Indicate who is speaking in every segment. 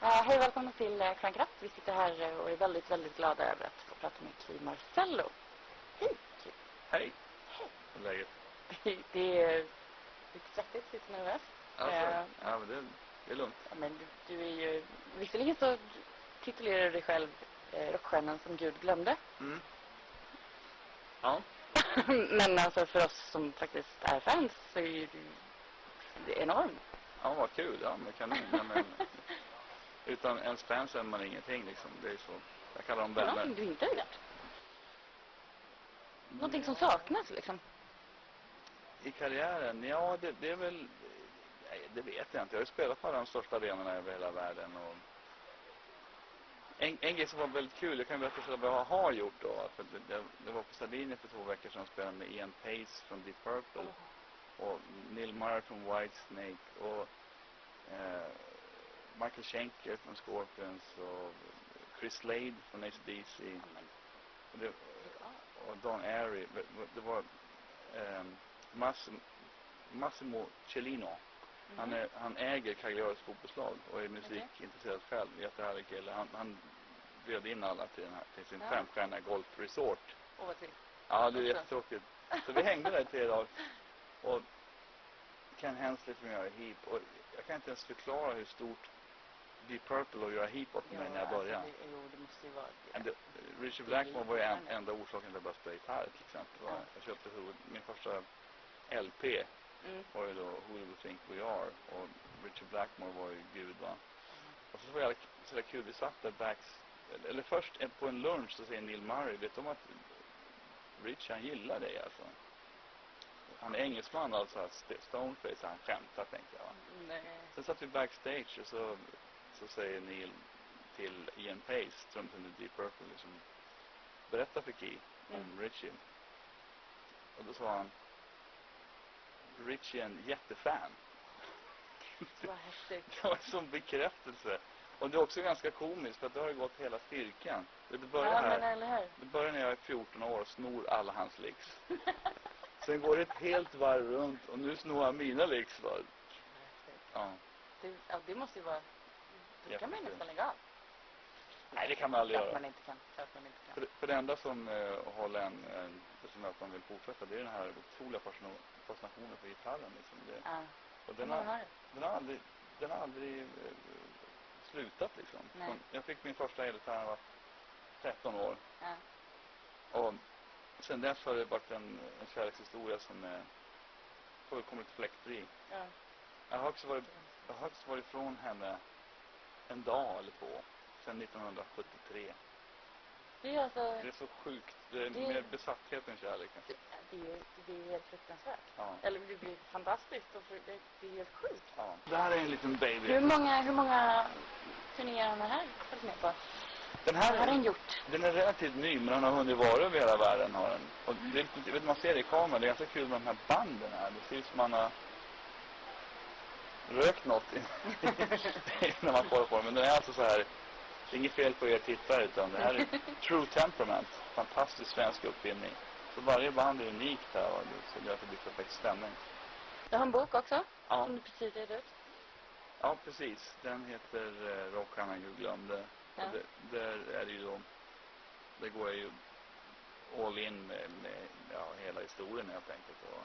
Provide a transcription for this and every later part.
Speaker 1: hej och välkomna till eh, Krankraft. Vi sitter här eh, och är väldigt, väldigt glada över att få prata med Kim Marcello. Hej Kim.
Speaker 2: Hej! Hur är läget?
Speaker 1: Det är eh, lite svettigt, lite nervöst.
Speaker 2: Ja,
Speaker 1: Eh,
Speaker 2: så- Alltså, ja, men det, det är lugnt.
Speaker 1: ja, men du, du är ju, visserligen så titulerar du dig själv eh, rockstjärnan som Gud glömde.
Speaker 2: Mm. Ja.
Speaker 1: men alltså för oss som faktiskt är fans så är ju du det är enorm.
Speaker 2: ja, vad kul. Ja, men kanon. Ja, men, utan en spam så är man ingenting liksom. Det är så. Jag kallar dem vänner.
Speaker 1: Någonting du inte har gjort. Någonting som saknas liksom.
Speaker 2: I karriären? Ja, det, det är väl... Nej, det vet jag inte. Jag har ju spelat på alla de största arenorna över hela världen. Och... En, en grej som var väldigt kul, jag kan berätta för vad jag har gjort då. För det, det, det var på Sardinien för två veckor sedan och spelade med Ian Pace från Deep Purple. och Neil Murray från Whitesnake och eh, Michael Schenker från Scorpions och Chris Slade från
Speaker 1: Ja,
Speaker 2: AC/DC
Speaker 1: men,
Speaker 2: och, det,
Speaker 1: lägg av.
Speaker 2: och Don Airy. Det- Det var ehm, Massimo, Massimo Cellino. Han,
Speaker 1: Mm.
Speaker 2: är, han äger Cagliaris fotbollslag och är musikintresserad själv. Jättehärlig kille. Han, han bjöd in alla till, den här, till sin
Speaker 1: Ja.
Speaker 2: femstjärniga golfresort.
Speaker 1: Och vad trist.
Speaker 2: Ja, det är
Speaker 1: Också.
Speaker 2: jättetråkigt. Så vi hängde där i tre dagar. Och Ken Hensley från Göra Heap. Och jag kan inte ens förklara hur stort Deep Purple och Göra Heap var för mig när jag
Speaker 1: alltså,
Speaker 2: började.
Speaker 1: det- Jo, det måste ju vara
Speaker 2: Men
Speaker 1: det.
Speaker 2: det, Richard Blackmore var ju en,
Speaker 1: Ja.
Speaker 2: enda orsaken till att jag började spela gitarr till exempel. va.
Speaker 1: Ja.
Speaker 2: Jag köpte huvud, min första LP
Speaker 1: Mm.
Speaker 2: var ju då Who Do You Think We Are och Richard Blackmore var ju gud va. Och så var jag så där kul, vi satt där backs, eller först en- på en lunch så säger Neil Murray, vet du om att Rich han gillar dig alltså? Han är engelsman alltså, st- stoneface, han skämtar tänkte jag va.
Speaker 1: Nej.
Speaker 2: Sen satt vi backstage och så, så säger Neil till Ian Pace, trummisen i Deep Purple, liksom, berätta för Key om
Speaker 1: Mm.
Speaker 2: Richie. Och då sa han, Richie är en jättefan.
Speaker 1: Vad häftigt.
Speaker 2: Det var en sån bekräftelse. Och det är också ganska komiskt för att det har ju gått hela cirkeln. Det börjar
Speaker 1: Ja, men eh,
Speaker 2: här,
Speaker 1: eller hur?
Speaker 2: det börjar när jag är 14 år och snor alla hans licks. Sen går det ett helt varv runt och nu snor han mina licks va. Ja.
Speaker 1: Det, ja, det måste ju vara... Då kan man ju
Speaker 2: Jättekul.
Speaker 1: nästan lägga av.
Speaker 2: Nej, det kan man aldrig
Speaker 1: Klart
Speaker 2: göra.
Speaker 1: man inte kan. Klart man inte kan.
Speaker 2: För, för det enda som eh, håller en, eh, som gör att man vill fortsätta, det är den här otroliga fascino- fascinationen för gitarren. Liksom. Det,
Speaker 1: Ja.
Speaker 2: och den
Speaker 1: Den har...
Speaker 2: har,
Speaker 1: har
Speaker 2: den har aldrig, den har aldrig eh, slutat liksom.
Speaker 1: Nej.
Speaker 2: Som- Jag fick min första elgitarr när jag var 13 år.
Speaker 1: ja.
Speaker 2: Och sen dess har det varit en, en kärlekshistoria som är fullkomligt fläktfri.
Speaker 1: ja.
Speaker 2: Jag har också varit, jag har också varit ifrån henne en dag eller två, sedan 1973.
Speaker 1: Det är ju alltså...
Speaker 2: Det är så sjukt. Det är
Speaker 1: Det-
Speaker 2: mer besatthet än kärlek kanske.
Speaker 1: Det, det är ju det är helt fruktansvärt.
Speaker 2: Ja.
Speaker 1: Eller det blir fantastiskt. Och fru- det, det är helt sjukt.
Speaker 2: Ja. Det här är en liten
Speaker 1: Hur
Speaker 2: baby.
Speaker 1: många, hur många turnéer har den här följt med på?
Speaker 2: Den
Speaker 1: Vad har
Speaker 2: här
Speaker 1: den
Speaker 2: är,
Speaker 1: gjort?
Speaker 2: den är relativt ny, men den har hunnit vara över hela världen. Har den. Och det, är riktigt- jag vet, man ser det i kameran, det är ganska kul med de här banden här. Det ser ut som man har rökt något i- när man kollar på den. Men den är alltså så här, det är inget fel på er tittare, utan det här är True Temperament. Fantastisk svensk uppfinning. Så varje band är unikt här, och det- så det gör att det blir perfekt stämning.
Speaker 1: Du har en bok också,
Speaker 2: Ja.
Speaker 1: som du precis gett ut.
Speaker 2: Ja, precis. Den heter eh, Rockstjärnan Gud glömde.
Speaker 1: Ja.
Speaker 2: Och det, där är det ju då, där går jag ju all in med, med ja, hela historien helt enkelt. Och,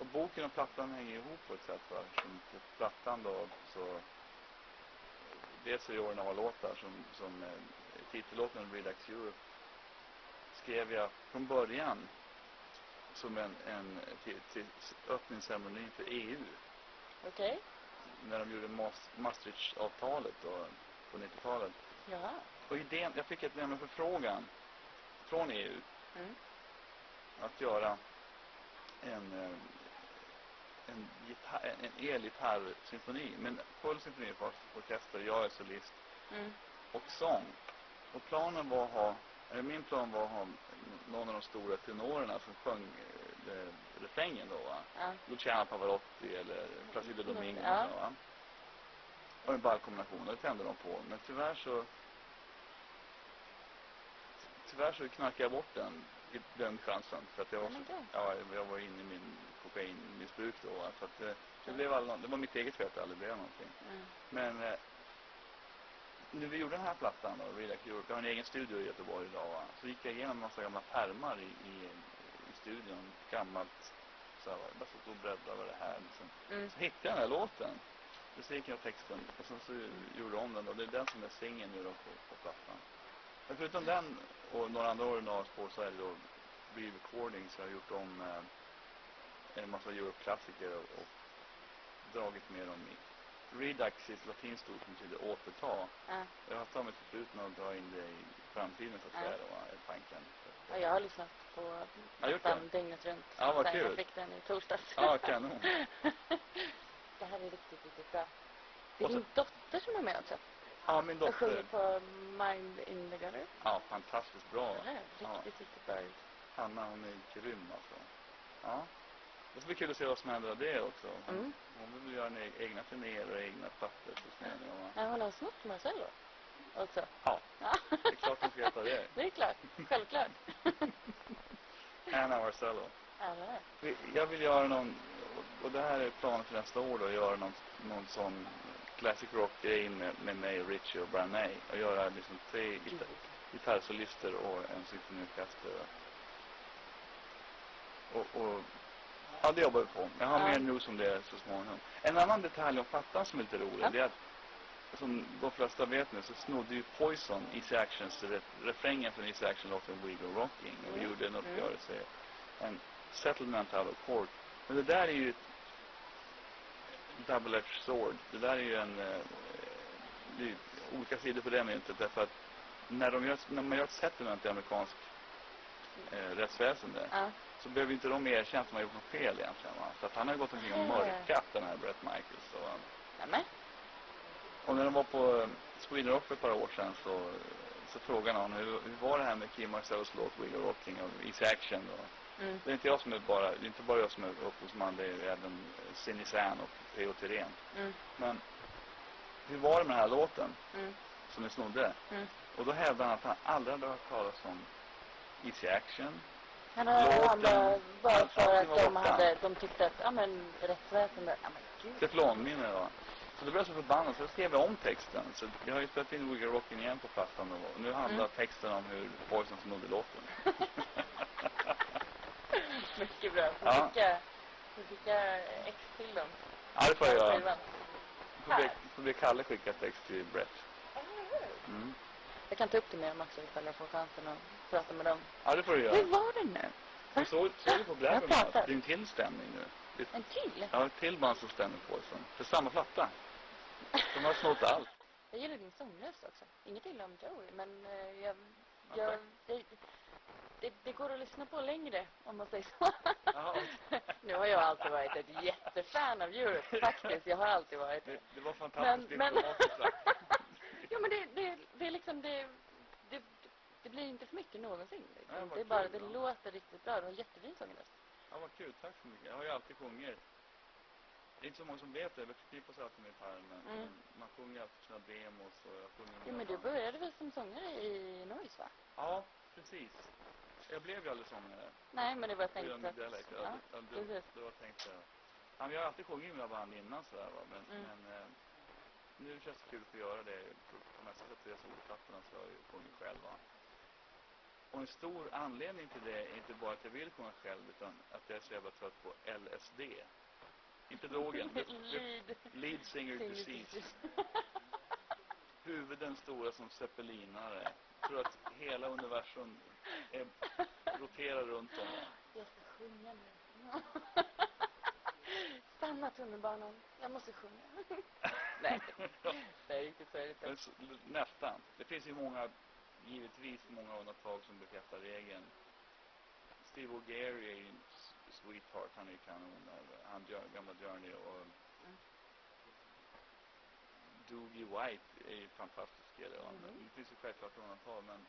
Speaker 2: och boken och plattan hänger ihop på ett sätt va. Som på plattan då så, dels så gör den några låtar som, som eh, titellåten Relax Europe skrev jag från början som en, en till, till öppningsceremoni för EU
Speaker 1: Okej.
Speaker 2: när de gjorde Mas- Maastrichtavtalet då, på 90-talet.
Speaker 1: Ja.
Speaker 2: Och idén, jag fick ett nämligen förfrågan från EU
Speaker 1: Mm.
Speaker 2: att göra en, eh, en, gitarr, en elgitarrsymfoni, men full symfoniorkester, jag är solist
Speaker 1: Mm.
Speaker 2: och sång. Och planen var att ha, eller min plan var att ha någon av de stora tenorerna som sjöng eh, eh, refrängen då va.
Speaker 1: Ja.
Speaker 2: Luciano Pavarotti eller Placido Domingo.
Speaker 1: Ja.
Speaker 2: va? Och en ballkombination, och det tände de på. Men tyvärr så Tyvärr så knackade jag bort den, i- den chansen. För att jag var,
Speaker 1: Ja, men
Speaker 2: så,
Speaker 1: då.
Speaker 2: ja, jag var inne i min kokainmissbruk då. va. Så att, eh, det, blev aldrig, nå- det var mitt eget fel att det aldrig blev någonting.
Speaker 1: Mm.
Speaker 2: Men eh, när vi gjorde den här plattan då, Relax Europe, jag har en egen studio i Göteborg idag va? så gick jag igenom massa gamla pärmar i, i, i studion, gammalt, så här, va, bara satt och bläddrade över det här liksom.
Speaker 1: Mm.
Speaker 2: Så hittade jag den här låten, musiken och texten, och sen så gjorde jag om den då, det är den som är singeln nu då på, på plattan. Men förutom
Speaker 1: Mm.
Speaker 2: den och några andra originalspår så är det då re-recordings jag har gjort om eh, en massa Europe-klassiker och, och dragit med dem i Redux i ett latinskt ord som betyder återta.
Speaker 1: Ja.
Speaker 2: Jag har tagit mig till slutna och dra in det i framtiden så att säga,
Speaker 1: Ja.
Speaker 2: det var tanken.
Speaker 1: Ja, jag har lyssnat på
Speaker 2: Ja, gjort
Speaker 1: den dygnet runt.
Speaker 2: Ja, vad
Speaker 1: sen
Speaker 2: kul.
Speaker 1: Jag fick den i torsdags.
Speaker 2: Ja, kanon.
Speaker 1: det här är riktigt, riktigt bra. Det är
Speaker 2: Och så-
Speaker 1: din dotter som är med också.
Speaker 2: Ja, min
Speaker 1: Jag sjunger
Speaker 2: dotter.
Speaker 1: på Mind in the Gallery.
Speaker 2: Ja, fantastiskt bra.
Speaker 1: Det här är riktigt,
Speaker 2: Ja. Mm.
Speaker 1: riktigt bra.
Speaker 2: Hanna, hon är grym alltså. Ja. Det ska bli kul att se vad som händer av det också. Hon,
Speaker 1: Mm.
Speaker 2: hon vill göra en e- egna turnéer och egna plattor så småningom. va?
Speaker 1: Ja, hon har snott Marcello också.
Speaker 2: Ja,
Speaker 1: Ja,
Speaker 2: det är klart hon ska heta det.
Speaker 1: det är klart. Självklart.
Speaker 2: Anna Marcello.
Speaker 1: Ja, det är.
Speaker 2: Vi- Jag vill göra någon, och- och det här är planen för nästa år då, att göra någon, någon sån classic rock-grej med, med mig, Richie och Brian May. Och göra liksom tre gita- gitarrsolister och en symfoniorkester. Och, och ja, det jobbar vi på. Jag har
Speaker 1: Ja.
Speaker 2: mer news om det så småningom. En annan detalj om plattan som är lite rolig,
Speaker 1: Ja.
Speaker 2: det är att som de flesta vet nu så snodde ju Poison Easy Actions re- refrängen från Easy Action-låten We Go Rocking och
Speaker 1: Mm.
Speaker 2: gjorde en
Speaker 1: Mm.
Speaker 2: uppgörelse, en settlement out of court. Men det där är ju ett double edged sword. Det där är ju en, eh, det är ju olika sidor på det myntet därför att när, de gör, när man gör ett settlement i amerikansk eh, rättsväsende
Speaker 1: Ja.
Speaker 2: så behöver inte de erkänna att de har gjort något fel egentligen. Va? Så att han har gått omkring och
Speaker 1: Mm.
Speaker 2: mörkat den här Brett Michaels. Och,
Speaker 1: Nämen.
Speaker 2: och när de var på eh, Sweden Rock för ett par år sedan så, så frågade någon hur, hur var det här med Kim Marcellos låt We Go Rocking och Easy Action och
Speaker 1: Mm.
Speaker 2: det är inte jag som är bara, det är inte bara jag som är upphovsman, det är ju även eh, Cindy San och P.O. Thyrén.
Speaker 1: Mm.
Speaker 2: Men hur var det med den här låten
Speaker 1: Mm.
Speaker 2: som ni snodde?
Speaker 1: Mm.
Speaker 2: Och då hävdade han att han aldrig hade hört talas om Easy Action.
Speaker 1: Han har
Speaker 2: Låten-
Speaker 1: eh, han bara, bara för
Speaker 2: allting
Speaker 1: att
Speaker 2: var
Speaker 1: de
Speaker 2: borta.
Speaker 1: hade, de tyckte att, ja men rättsväsendet, ja men gud.
Speaker 2: Teflonminne va. Så då blev jag så förbannad så då skrev jag om texten. Så jag har ju spelat in Wiggle Rockin' igen på plattan då. Och nu handlar
Speaker 1: Mm.
Speaker 2: texten om hur Poison snodde låten.
Speaker 1: Mycket bra. Vi
Speaker 2: Ja.
Speaker 1: skickar, vi skickar ex till dem.
Speaker 2: Ja, det får jag göra.
Speaker 1: Skivan.
Speaker 2: Då blir- Då blir Kalle skicka text till Brett. Mm.
Speaker 1: Jag kan ta upp det med dem också ifall jag får chansen att prata med dem.
Speaker 2: Ja, det får du
Speaker 1: Hur
Speaker 2: göra.
Speaker 1: var det nu?
Speaker 2: Vi såg, såg du på
Speaker 1: Mm. Jag
Speaker 2: Blabbermouth?
Speaker 1: pratar.
Speaker 2: Det är en till stämning nu. Det är
Speaker 1: En till?
Speaker 2: Ja, ett till band som stämmer Poison. För samma platta. De har snott allt.
Speaker 1: Jag gillar din sångröst också. Inget illa om Joey, men eh, jag,
Speaker 2: Ja,
Speaker 1: jag,
Speaker 2: tack.
Speaker 1: det, det, det går att lyssna på längre om man säger så.
Speaker 2: Jaha,
Speaker 1: nu har jag alltid varit ett jättefan av Europe faktiskt. Jag har alltid varit det.
Speaker 2: Det, det var
Speaker 1: Men,
Speaker 2: fantastiskt
Speaker 1: men...
Speaker 2: diplomatiskt sagt.
Speaker 1: jo, men det, det, det är liksom, det, det, det blir inte för mycket någonsin. Liksom.
Speaker 2: Ja, vad
Speaker 1: det är bara,
Speaker 2: kul,
Speaker 1: det
Speaker 2: ja.
Speaker 1: låter riktigt bra. Du har jättefin sångröst.
Speaker 2: Ja, vad kul. Tack så mycket. Jag har ju alltid sjungit. Det är inte så många som vet det. Vi förknippas alltid med gitarren. Men
Speaker 1: Mm.
Speaker 2: men man sjunger alltid sina demos och jag sjunger
Speaker 1: Jo,
Speaker 2: mina
Speaker 1: men du
Speaker 2: band.
Speaker 1: började väl som sångare i Noise, va?
Speaker 2: Ja, precis. Jag blev ju aldrig sångare.
Speaker 1: Nej, men det var
Speaker 2: Jag gör
Speaker 1: tänkt
Speaker 2: min
Speaker 1: att...
Speaker 2: dialekt. Jag,
Speaker 1: Ja,
Speaker 2: jag, jag,
Speaker 1: precis.
Speaker 2: det var tänkt så här. Ja, men jag har alltid sjungit i mina band innan sådär va. Men,
Speaker 1: Mm.
Speaker 2: men eh, nu känns det kul att få göra det. På de här sista tre solplattorna så har jag ju sjungit själv va. Och en stor anledning till det är inte bara att jag vill sjunga själv utan att jag är så jävla trött på LSD. Inte drogen. Det, det,
Speaker 1: Lead.
Speaker 2: lead
Speaker 1: Singer
Speaker 2: singer disease.
Speaker 1: disease.
Speaker 2: Huvuden stora som zeppelinare. Tror att hela universum är, roterar runt om. va.
Speaker 1: Jag ska sjunga nu. Stanna tunnelbanan. Jag måste sjunga. Nej, det är riktigt så är det inte.
Speaker 2: Men så- Nästan. Det finns ju många, givetvis många undantag som bekräftar regeln. Steve O'Gary är ju en s- sweetheart, han är ju kanon. där. Han gör gammal Journey och
Speaker 1: Mm.
Speaker 2: Doogie White är ju fantastisk kille. va.
Speaker 1: Mhm.
Speaker 2: Det finns ju självklart undantag men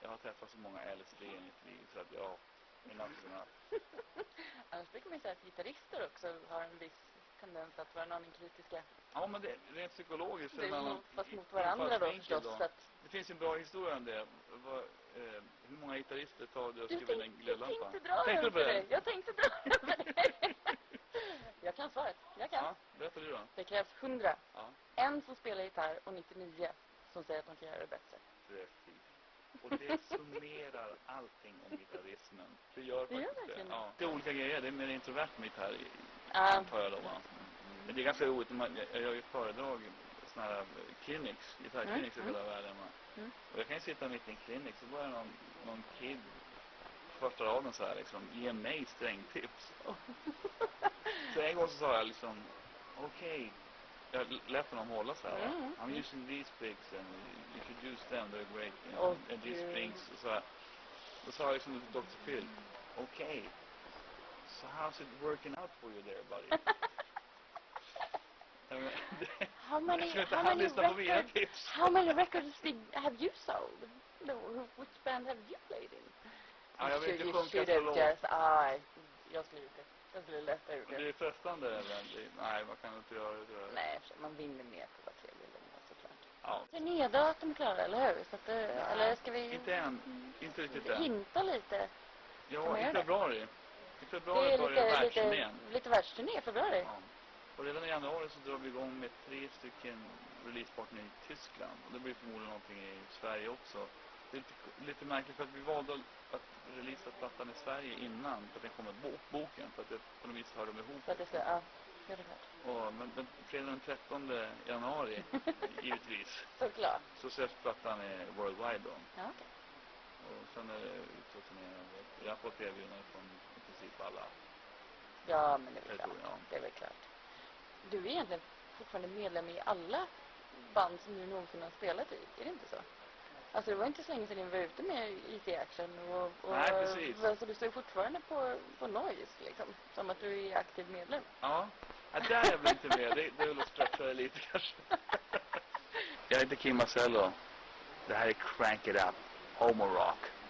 Speaker 2: jag har träffat så många LSD i mitt liv så att jag, enough is enough.
Speaker 1: Annars brukar man ju säga att gitarrister också har en viss tendens att vara en aning kritiska.
Speaker 2: Ja men det, rent psykologiskt
Speaker 1: Det är
Speaker 2: man-
Speaker 1: mot, fast mot varandra då
Speaker 2: infallsvinkel
Speaker 1: förstås.
Speaker 2: då.
Speaker 1: Så att,
Speaker 2: Det finns ju en bra historia om det. Vad, eh, hur många gitarrister tar det och
Speaker 1: du
Speaker 2: skriver en
Speaker 1: tänkte, jag
Speaker 2: glödlampa?
Speaker 1: tänkte dra
Speaker 2: Tänkte
Speaker 1: den för
Speaker 2: du på det?
Speaker 1: dig. Jag tänkte dra den för dig. Jag kan svaret. Jag kan.
Speaker 2: Ja, berätta du då.
Speaker 1: Det krävs 100.
Speaker 2: Ja.
Speaker 1: En som spelar gitarr och 99 som säger att de kan göra det bättre.
Speaker 2: Precis. Och det summerar allting om gitarrismen. Det gör
Speaker 1: Det gör
Speaker 2: faktiskt det.
Speaker 1: verkligen det.
Speaker 2: Ja. Det är olika grejer. Det är mer introvert med gitarr, i-
Speaker 1: Ja,
Speaker 2: antar jag då. Va? Men det är ganska roligt. när man- Jag jag gör ju föredrag, sådana här eh, clinics, gitarrclinics
Speaker 1: Mm,
Speaker 2: i hela världen. Va?
Speaker 1: Mm.
Speaker 2: Och jag kan ju sitta mitt i en clinic, så börjar någon, någon kid första raden så här liksom, ge mig strängtips. så en gång så sa jag liksom, okej, jag lät honom hålla så här. va?
Speaker 1: Mm,
Speaker 2: I'm using these picks and you should use them, they're great. And,
Speaker 1: Åh,
Speaker 2: and these
Speaker 1: Gud.
Speaker 2: springs och så här. Då sa jag liksom till Dr. Phil, okej, so how's it working out for you there buddy? Jag menar, det-
Speaker 1: how many,
Speaker 2: jag tror inte
Speaker 1: how
Speaker 2: han
Speaker 1: many
Speaker 2: lyssnar på mina
Speaker 1: records,
Speaker 2: tips.
Speaker 1: how many records did, have you sold? No, who- which band have you played in?
Speaker 2: Ja, jag vill
Speaker 1: You
Speaker 2: inte
Speaker 1: should- you
Speaker 2: sjunka
Speaker 1: should
Speaker 2: så
Speaker 1: have
Speaker 2: lågt.
Speaker 1: just- ah, jag skulle gjort det. Jag skulle lätta ur
Speaker 2: Men Det
Speaker 1: det.
Speaker 2: är frestande. eller? Det- Nej, man kan inte göra det. tror jag.
Speaker 1: Nej, för man vinner mer på att vara trevlig eller mer såklart.
Speaker 2: Ja.
Speaker 1: Turnédatum är klara, eller hur? Så att, det-
Speaker 2: Nej,
Speaker 1: eller ska vi
Speaker 2: Inte än. Inte riktigt än.
Speaker 1: hinta lite?
Speaker 2: Ja,
Speaker 1: man
Speaker 2: i
Speaker 1: göra det?
Speaker 2: februari. I
Speaker 1: Det
Speaker 2: februari
Speaker 1: är
Speaker 2: börjar
Speaker 1: lite, lite,
Speaker 2: världsturnén.
Speaker 1: lite världsturné i februari.
Speaker 2: Ja. Och redan i januari så drar vi igång med tre stycken releasepartner i Tyskland. Och det blir förmodligen någonting i Sverige också. Det är lite, lite märkligt för att vi valde att releasa plattan i Sverige innan för att den kom med bok, boken. För att det på något vis hör de ihop.
Speaker 1: Så att det ska, ja, det är klart.
Speaker 2: Och, men, men fredag den 13 januari, givetvis,
Speaker 1: Såklart.
Speaker 2: så släpps plattan eh, worldwide då.
Speaker 1: Ja, okej.
Speaker 2: Och sen är det ute och turnerar. och Jag har fått erbjudanden från i princip alla
Speaker 1: ja men det är väl klart.
Speaker 2: territorier.
Speaker 1: Det är väl klart. Du är egentligen fortfarande medlem i alla band som du någonsin har spelat i. Är det inte så? Alltså det var inte så länge sedan ni var ute med IT Action och... och
Speaker 2: Nej, precis.
Speaker 1: Alltså du står ju fortfarande på, på Noise liksom. Som att du är aktiv medlem.
Speaker 2: Ja. ja, där är jag väl inte med. Det, det är väl att stretcha det lite kanske. jag heter Kim Marcello. Det här är Crank It Up, Homo Rock.